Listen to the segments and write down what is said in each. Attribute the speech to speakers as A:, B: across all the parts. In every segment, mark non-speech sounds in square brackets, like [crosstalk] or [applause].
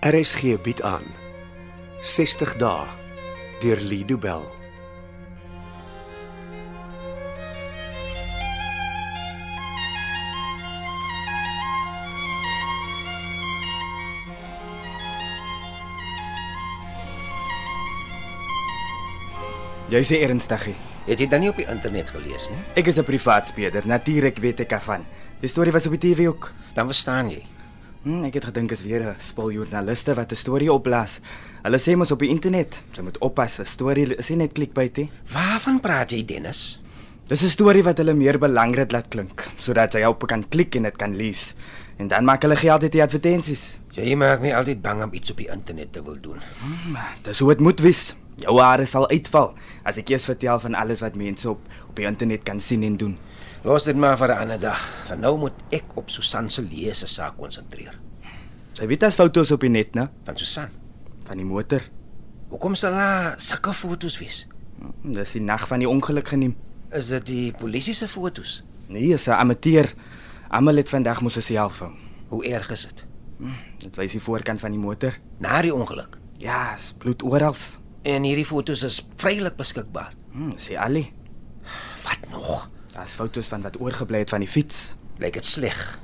A: RSG bied aan 60 dae deur Lido Bell.
B: Jy sê ernstigie.
C: Het jy dan nie op die internet gelees nie?
B: Ek is 'n privaat speler, natuurlik weet ek daarvan. Die storie was op die TV ook.
C: Dan verstaan jy.
B: Hm, ek het gedink is weer 'n spul joernaliste wat 'n storie opblaas. Hulle sê mos op die internet, jy moet oppas, 'n storie is nie net clickbait nie.
C: Waarvan praat jy, Dennis?
B: Dis 'n storie wat hulle meer belangrik laat klink, sodat jy op kan klik en dit kan lees. En dan maak hulle geld uit die advertensies.
C: Ja, Jy maak my altyd bang om iets op die internet te wil doen.
B: Hm, dis hoe dit moet wees. Jou hare sal uitval as ek eers vertel van alles wat mense op op die internet kan sien en doen.
C: Los dit maar vir 'n ander dag. Van nou moet ek op Susan se lese saak konsentreer.
B: Jy weet daar's foto's op die net, né,
C: Van Susan.
B: van die motor.
C: Hoekom sal daar sulke foto's wees?
B: Hm, Dis die nag van die ongeluk geneem.
C: Is dit die polisie se foto's?
B: Nee, is 'n amateur. Almal het vandag mos self hou. Hm,
C: Hoe erg is dit?
B: Dit wys die voorkant van die motor.
C: Na die ongeluk.
B: Ja, is bloed oral.
C: En hierdie foto's is vrylik beskikbaar.
B: Hm, sê Ali.
C: Wat nog?
B: Daar's foto's van wat oorgebly het van die fiets.
C: Lyk dit sleg.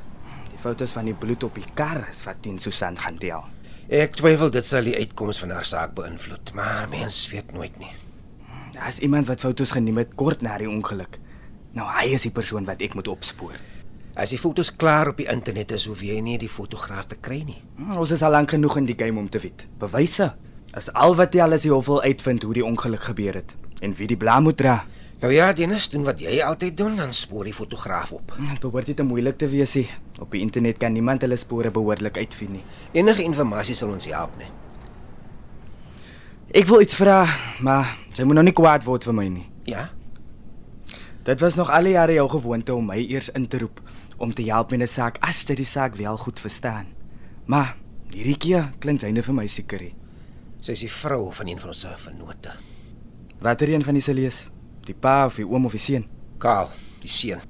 B: Die foto's van die bloed op die kar is wat teen Susan gaan deel.
C: Ek twyfel dit sal die uitkoms van haar saak beïnvloed, maar mens weet nooit nie.
B: Daar's iemand wat foto's geneem het kort na die ongeluk. Nou hy is die persoon wat ek moet opspoor.
C: As die foto's klaar op die internet is, hoef jy nie die fotograaf te kry nie.
B: Hm, ons is al lank genoeg in die game om te weet. Bewyse is al wat jy alles hoef wil uitvind hoe die ongeluk gebeur het en wie die blame moet dra.
C: Nou ja, Dennis, doen wat jy altyd doen, dan spoor die fotograaf op.
B: Dit behoort nie te moeilik te wees nie. Op die internet kan niemand hulle spore behoorlik uitvind nie.
C: Enige inligting sal ons help, né?
B: Ek wil iets vra, maar jy moet nou nie kwaad word vir my nie.
C: Ja.
B: Dit was nog al die jare jou gewoonte om my eers in te roep om te help met 'n saak as jy die saak wel goed verstaan. Maar hierdie keer klink jy net vir my sekerie.
C: Sy is die vrou van een van ons vennote.
B: Watter een van die se lees? Die pa of die oom of die seun?
C: Kaal, die seun.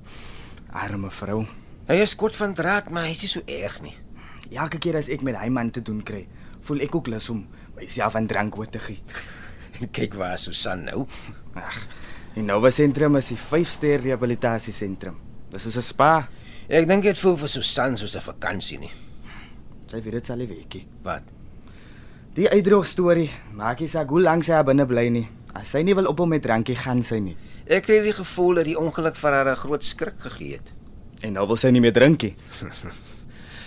B: Arme vrou.
C: Hy is kort van draad, maar hy's nie so erg nie. [laughs]
B: Elke keer as ek met hy man te doen kry, voel ek ook lus om myself aan drank oor te gee.
C: En kyk waar is Susan nou.
B: Ag, die Nova sentrum is die 5-ster rehabilitasiesentrum. Dis soos 'n spa.
C: Ek dink dit voel vir Susan soos 'n vakansie nie.
B: Sy weet dit sal nie weekie.
C: Wat?
B: Die uitdroog storie maak nie saak hoe lank sy daar binne bly nie. As sy nie wil ophou met drankie gaan sy nie.
C: Ek het die gevoel dat die ongeluk vir haar 'n groot skrik gegee het.
B: En nou wil sy nie meer drinkie.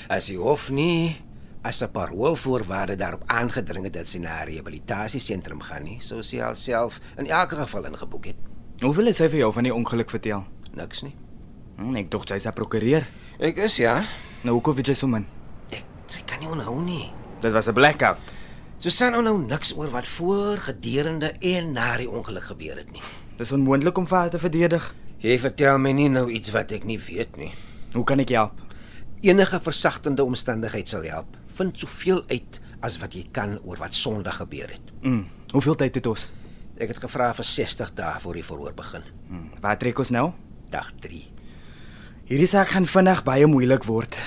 C: As hy hof nie as 'n paroolvoorwaarde daarop aangedring het dat sy na 'n rehabilitasiesentrum gaan nie, sou sy alself in elke geval ingeboek het.
B: Hoeveel het sy vir jou van die ongeluk vertel?
C: Niks nie.
B: Hm, ek dink sy is 'n prokureur.
C: Ek is ja.
B: Nou hoekom weet jy so min?
C: Ek sy kan nie onthou nie.
B: Dit was 'n blackout.
C: Susan onthou nou niks oor wat voor, gedurende en na die ongeluk gebeur het nie.
B: Dis onmoontlik om vir haar te verdedig.
C: Jy vertel my nie nou iets wat ek nie weet nie.
B: Hoe kan ek help?
C: Enige versagtende omstandigheid sal help. Vind soveel uit as wat jy kan oor wat Sondag gebeur het.
B: Hm, hoeveel tyd het ons?
C: Ek het gevra vir 60 dae voor die verhoor begin.
B: Hm, waar trek ons nou?
C: Dag 3.
B: Hierdie saak gaan vinnig baie moeilik word.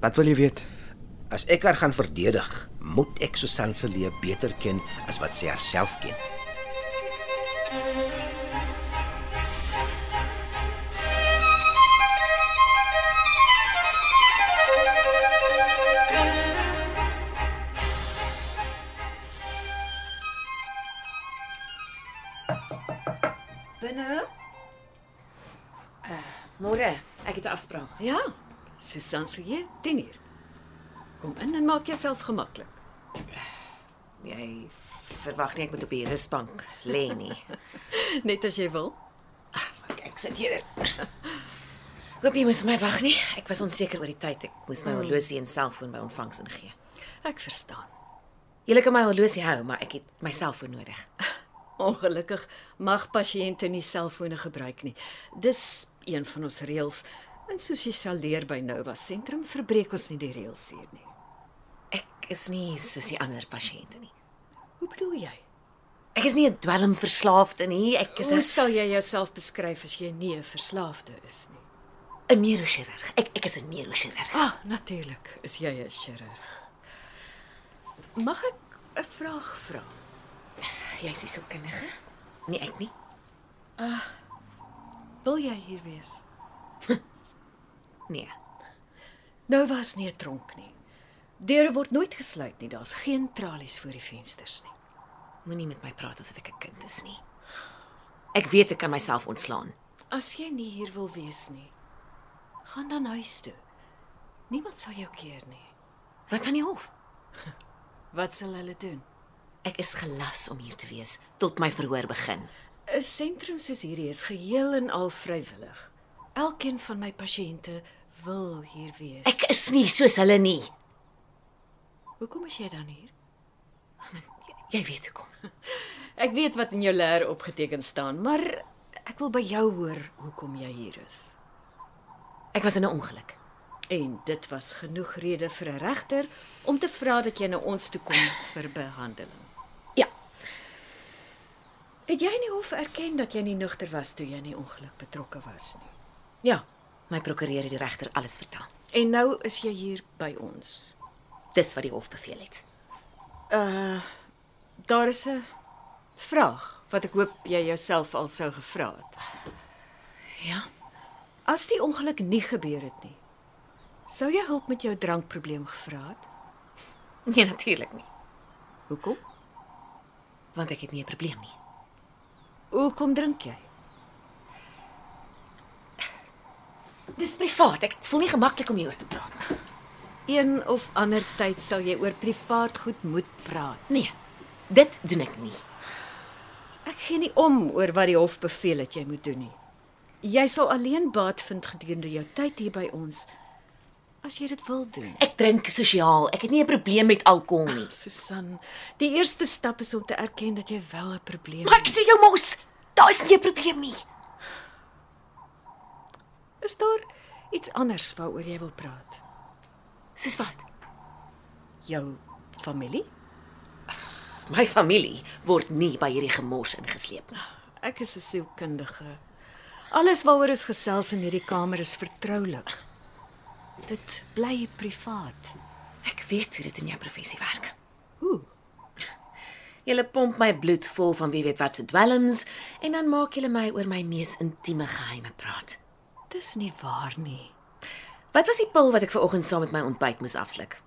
B: Wat wil jy weet?
C: As ek haar gaan verdedig, moet ek Susan se lewe beter ken as wat sy haarself ken.
D: Binne?
E: Môre, ek het 'n afspraak.
D: Ja. Susan se hier, 10 uur. Kom in en maak jouself gemaklik. [laughs]
E: Jy verwag nie ek moet op die rusbank lê nie. [laughs]
D: Net as jy wil.
E: Ek sit hier. [laughs] Hoop jy moes my wag nie. Ek was onseker oor die tyd. Ek moes my horlosie en selfoon by ontvangs ingee.
D: Ek verstaan.
E: Julle kan my horlosie hou, maar ek het my selfoon [laughs] nodig.
D: Ongelukkig mag pasiënte nie selfone gebruik nie. Dis een van ons reëls. En soos jy sal leer by Nova Sentrum, verbreek ons nie die reëls hier nie.
E: Ek is nie soos die ander pasiënte nie.
D: Hoe bedoel jy?
E: Ek is nie 'n dwelmverslaafde nie. Ek is
D: Hoe
E: 'n
D: sal jy jouself beskryf as jy nie 'n verslaafde is nie?
E: 'n neurochirurg. Ek ek is 'n neurochirurg.
D: Ah, natuurlik, is jy 'n chirurg. Mag ek 'n vraag vra?
E: Jy's Ah, die sielkundige? Nee, ek nie.
D: Wil jy hier wees?
E: Nee.
D: Nou was nie 'n tronk nie. Deure word nooit gesluit nie. Daar's geen tralies voor die vensters nie.
E: Moenie met my praat asof ek 'n kind is nie. Ek weet ek kan myself ontslaan.
D: As jy nie hier wil wees nie, gaan dan huis toe. Niemand sal jou keer nie.
E: Wat van die hof?
D: Wat sal hulle doen?
E: Ek is gelas om hier te wees tot my verhoor begin.
D: 'n Sentrum soos hierdie is geheel en al vrywillig. Elkeen van my pasiënte wil hier wees.
E: Ek is nie soos hulle nie.
D: Hoekom is jy dan hier?
E: Jy weet hoekom.
D: Ek weet wat in jou leer opgeteken staan, maar ek wil by jou hoor hoekom jy hier is.
E: Ek was in 'n ongeluk.
D: En dit was genoeg rede vir 'n regter om te vra dat jy na ons toe kom vir behandeling.
E: Ja.
D: Het jy nie hof erken dat jy nie nugter was toe jy in die ongeluk betrokke was nie?
E: Ja, my prokureur het die regter alles vertel.
D: En nou is jy hier by ons.
E: Dis wat die hof beveel het.
D: Uh daar is 'n vraag wat ek hoop jy jouself al sou gevra het.
E: Ja.
D: As die ongeluk nie gebeur het nie, sou jy hulp met jou drankprobleem gevra het?
E: Nee, natuurlik nie,
D: Hoekom?
E: want ek het nie 'n probleem nie.
D: Hoekom drink jy?
E: Dis privaat. Ek voel nie gemaklik om hieroor te praat nie.
D: Een of ander tyd sal jy oor privaat goed moet praat.
E: Nee. Dit doen ek nie.
D: Ek gee nie om oor wat die hof beveel het jy moet doen nie. Jy sal alleen baat vind gedurende jou tyd hier by ons as jy dit wil doen.
E: Ek drink sosiaal. Ek het nie 'n probleem met alkohol nie.
D: Susan, die eerste stap is om te erken dat jy wel 'n probleem
E: Maar ek
D: het.
E: sê jou mos, daar is nie 'n probleem nie.
D: Is daar iets anders waaroor jy wil praat?
E: Soos wat?
D: Jou familie?
E: My familie word nie by hierdie gemors ingesleep nie.
D: Ek is 'n sielkundige. Alles waaroor ons gesels in hierdie kamer is vertroulik. Dit bly privaat.
E: Ek weet hoe dit in jou professie werk.
D: Hoe?
E: Julle pomp my bloed vol van wie weet wat se dwelms en dan maak julle my oor my mees intieme geheime praat.
D: Dis nie waar nie.
E: Wat was die pil wat ek ver oggend saam met my ontbyt moes afsluk?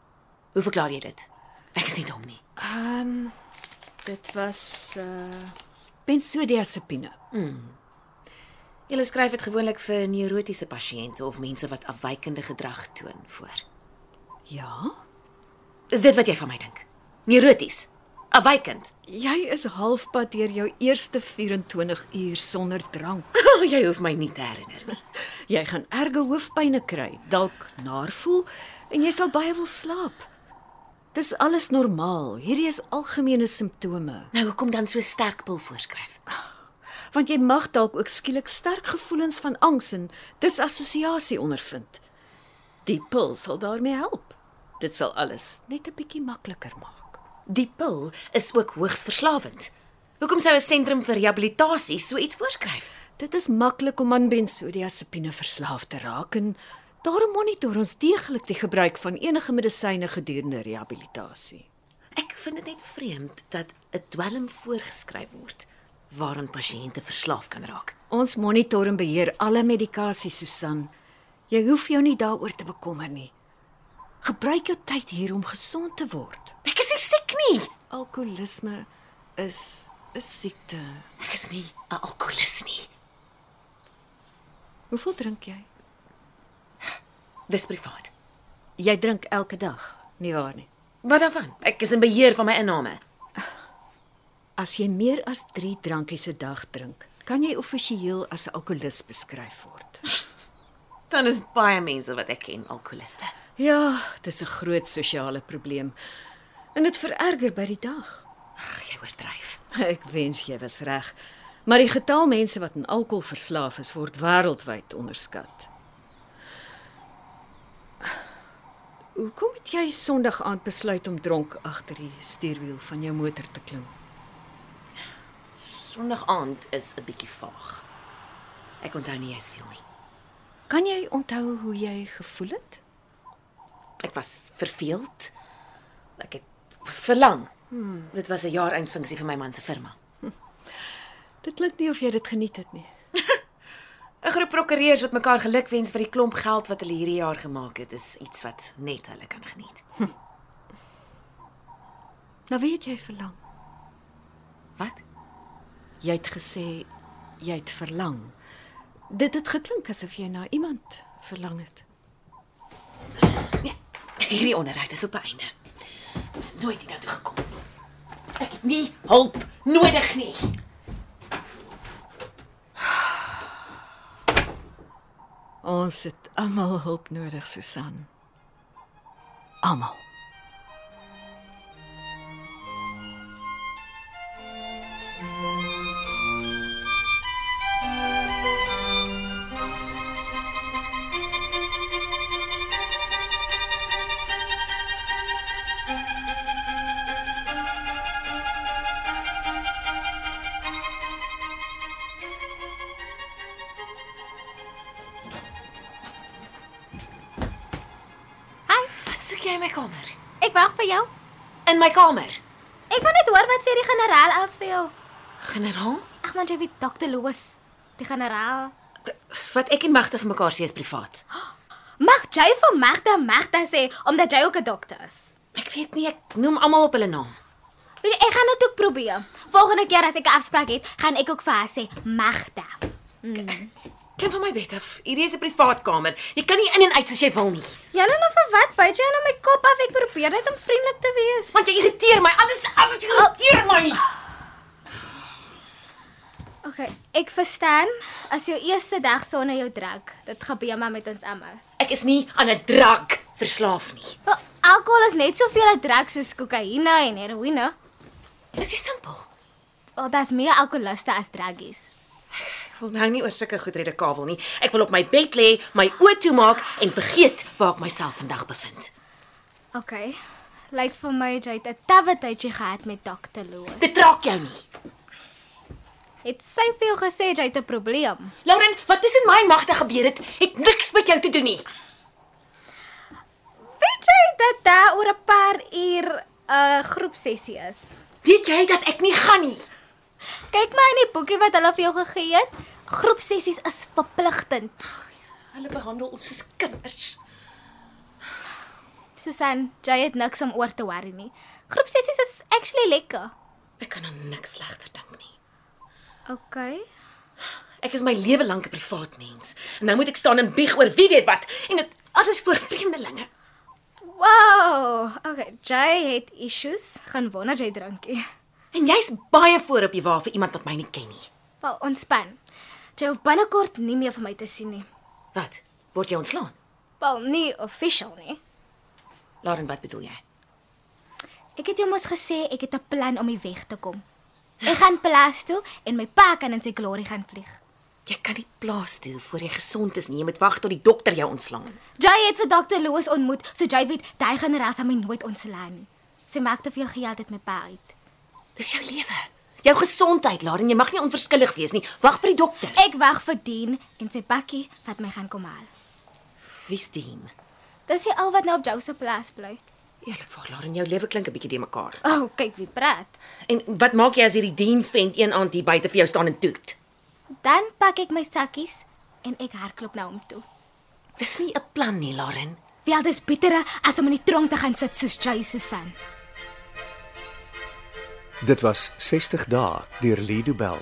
E: Hoe verklaar jy dit? Ek is nie dom nie.
D: Ehm um, dit was uh benzodiazepine.
E: Julle skryf dit gewoonlik vir neurotiese pasiënte of mense wat afwykende gedrag toon voor.
D: Ja,
E: Is dit wat jy van my dink? Neuroties, afwykend. [laughs]
D: jy is halfpad deur jou eerste 24 uur sonder drank.
E: Oh, jy hoef my nie te herinner nie.
D: Jy gaan erge hoofpyne kry, dalk naarvoel en jy sal baie wil slaap. Dis alles normaal. Hierdie is algemene simptome.
E: Nou hoekom dan so sterk pil voorskryf?
D: Want jy mag dalk ook skielik sterk gevoelens van angs en disassosiasie ondervind. Die pil sal daarmee help. Dit sal alles net 'n bietjie makliker maak.
E: Die pil is ook hoogs verslawend. Hoekom sou 'n sentrum vir rehabilitasie so iets voorskryf?
D: Dit is maklik om aan benzodiazepine verslaaf te raak en daarom monitor ons deeglik die gebruik van enige medisyne gedurende rehabilitasie.
E: Ek vind dit net vreemd dat 'n dwelm voorgeskryf word waaraan pasiënte verslaaf kan raak.
D: Ons monitor en beheer alle medikasie, Susan. Jy hoef jou nie daaroor te bekommer nie. Gebruik jou tyd hier om gesond te word.
E: Ek is nie siek nie.
D: Alkoholisme is 'n siekte.
E: Ek is nie 'n alkoholist nie.
D: Hoeveel drink jy?
E: Dis privaat.
D: Jy drink elke dag, nie waar nie?
E: Wat daarvan? Ek is in beheer van my inname.
D: As jy meer as 3 drankies 'n dag drink, kan jy offisieel as 'n alkolikus beskryf word.
E: Dan is baie mense wat ek ken alkoholiste.
D: Ja, dis 'n groot sosiale probleem en dit vererger by die dag.
E: Ag, jy oordryf.
D: Ek wens jy was reg, maar die getal mense wat aan alkohol verslaaf is, word wêreldwyd onderskat. Hoekom het jy Sondag aand besluit om dronk agter die stuurwiel van jou motor te klim?
E: Sondag aand is 'n bietjie vaag. Ek onthou nie eens veel nie.
D: Kan jy onthou hoe jy gevoel het?
E: Ek was verveeld. Ek het verlang. Hmm. Dit was 'n jaareindfunksie vir my man se firma.
D: Dit klink nie of jy dit geniet het nie.
E: 'n Groep prokureurs wat mekaar gelukwens vir die klomp geld wat hulle hierdie jaar gemaak het, is iets wat net hulle kan geniet.
D: Nou weet jy verlang.
E: Wat?
D: Jy het gesê jy het verlang. Dit het geklink asof jy na iemand verlang het.
E: Nee, hierdie onderhoud is op 'n einde. Ons het nooit hiernatoe gekom nie. Ek het nie hulp nodig nie.
D: Ons het almal hulp nodig, Susan. Almal.
E: Wat soek jy in my kamer?
F: Ek wag vir jou.
E: In my kamer.
F: Ek wil net hoor wat sê die generaal als vir jou.
E: Generaal,
F: Ag man, jy weet Dr. Louis, die generaal.
E: wat ek en Magda vir mekaar sê is privaat.
F: Mag jy vir Magda Magda sê omdat jy ook 'n dokter is.
E: Ek weet nie, ek noem almal op hulle naam.
F: Weet jy, ek gaan dit ook probeer. Volgende keer as ek 'n afspraak het, gaan ek ook vir haar sê Magda.
E: Klim van my bed af. Hierdie is 'n privaat kamer. Jy kan nie in en uit soos jy wil nie.
F: Julle nou vir wat byt jy nou my kop af? Ek probeer net om vriendelik te wees.
E: Want jy irriteer my. Alles alles irriteer my.
F: Okay, ek verstaan. As jou eerste dag sonder jou drank, dit gebeur maar met ons almal.
E: Ek is nie aan 'n drank verslaaf nie.
F: Wel, alkohol is net soveel 'n drank soos kokaine en heroïne.
E: Dis jy simpel.
F: Wel, daar's meer alkoholiste as druggies.
E: Ek wil nou nie oor sulke goed redekavel nie. Ek wil op my bed lê, my oë toemaak en vergeet waar ek myself vandag bevind.
F: Okay. Lyk vir my jy het 'n tawwe tydjie gehad met Dr. Louis.
E: Dit raak jou nie.
F: Het sy vir jou gesê jy het 'n probleem?
E: Lauren, wat tussen my en magte gebeur het, het niks met jou te doen nie.
F: Weet jy dat daar oor 'n paar uur 'n uh, groepsessie is?
E: Weet jy dat ek nie gaan nie?
F: Kyk maar in die boekie wat hulle vir jou gegee het. Groepsessies is verpligtend.
E: Hulle behandel ons soos kinders.
F: Susan, jy het niks om oor te worry nie. Groepsessies is actually lekker.
E: Ek kan aan niks slegter dink nie.
F: Okay.
E: Ek is my lewe lank 'n privaat mens. En nou moet ek staan en bieg oor wie weet wat en dit alles voor vreemdelinge.
F: Wow. Okay, jy het issues. Gaan wonder jy drinkie.
E: En jy's baie voor op die wa vir iemand wat my nie ken nie.
F: Wel, ontspan. Jy hoef binnekort nie meer vir my te sien nie.
E: Wat? Word jy ontslaan?
F: Wel, nie official nie.
E: Lauren, wat bedoel jy?
F: Ek het jou mos gesê ek het 'n plan om hier weg te kom. Ek gaan plaas toe en my pa kan in sy glory gaan vlieg.
E: Jy kan nie plaas toe voor jy gesond is nie. Jy moet wag tot die dokter jou ontslaan.
F: Jy het vir Dr. Loos ontmoet, so jy weet hy gaan ras aan my nooit ontslaan nie. Sy maak te veel geld uit my pa uit.
E: Dis jou lewe. Jou gesondheid, Lauren, jy mag nie onverskillig wees nie. Wag vir die dokter.
F: Ek wag vir Dien en sy bakkie wat my gaan kom haal.
E: Wie's dien?
F: Dis hy al wat nou op jou se plaas bly.
E: Eerlikwaar, Lauren, jou lewe klink 'n bietjie de mekaar.
F: O, oh, kyk wie praat.
E: En wat maak jy as hierdie dien vent een aand hier buite vir jou staan en toet?
F: Dan pak ek my sakkies en ek hardloop na hom toe.
E: Dis nie 'n plan nie, Lauren.
F: Wel, dis bittere as om in die tronk te gaan sit soos jy, Susan.
A: Dit was 60 dae deur Lido Bell.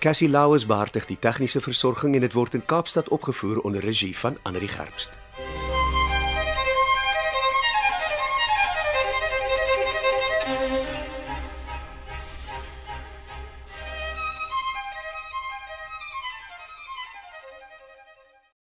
A: Cassie Lauers beheer die tegniese versorging en dit word in Kaapstad opgevoer onder regie van Anri Gerbst.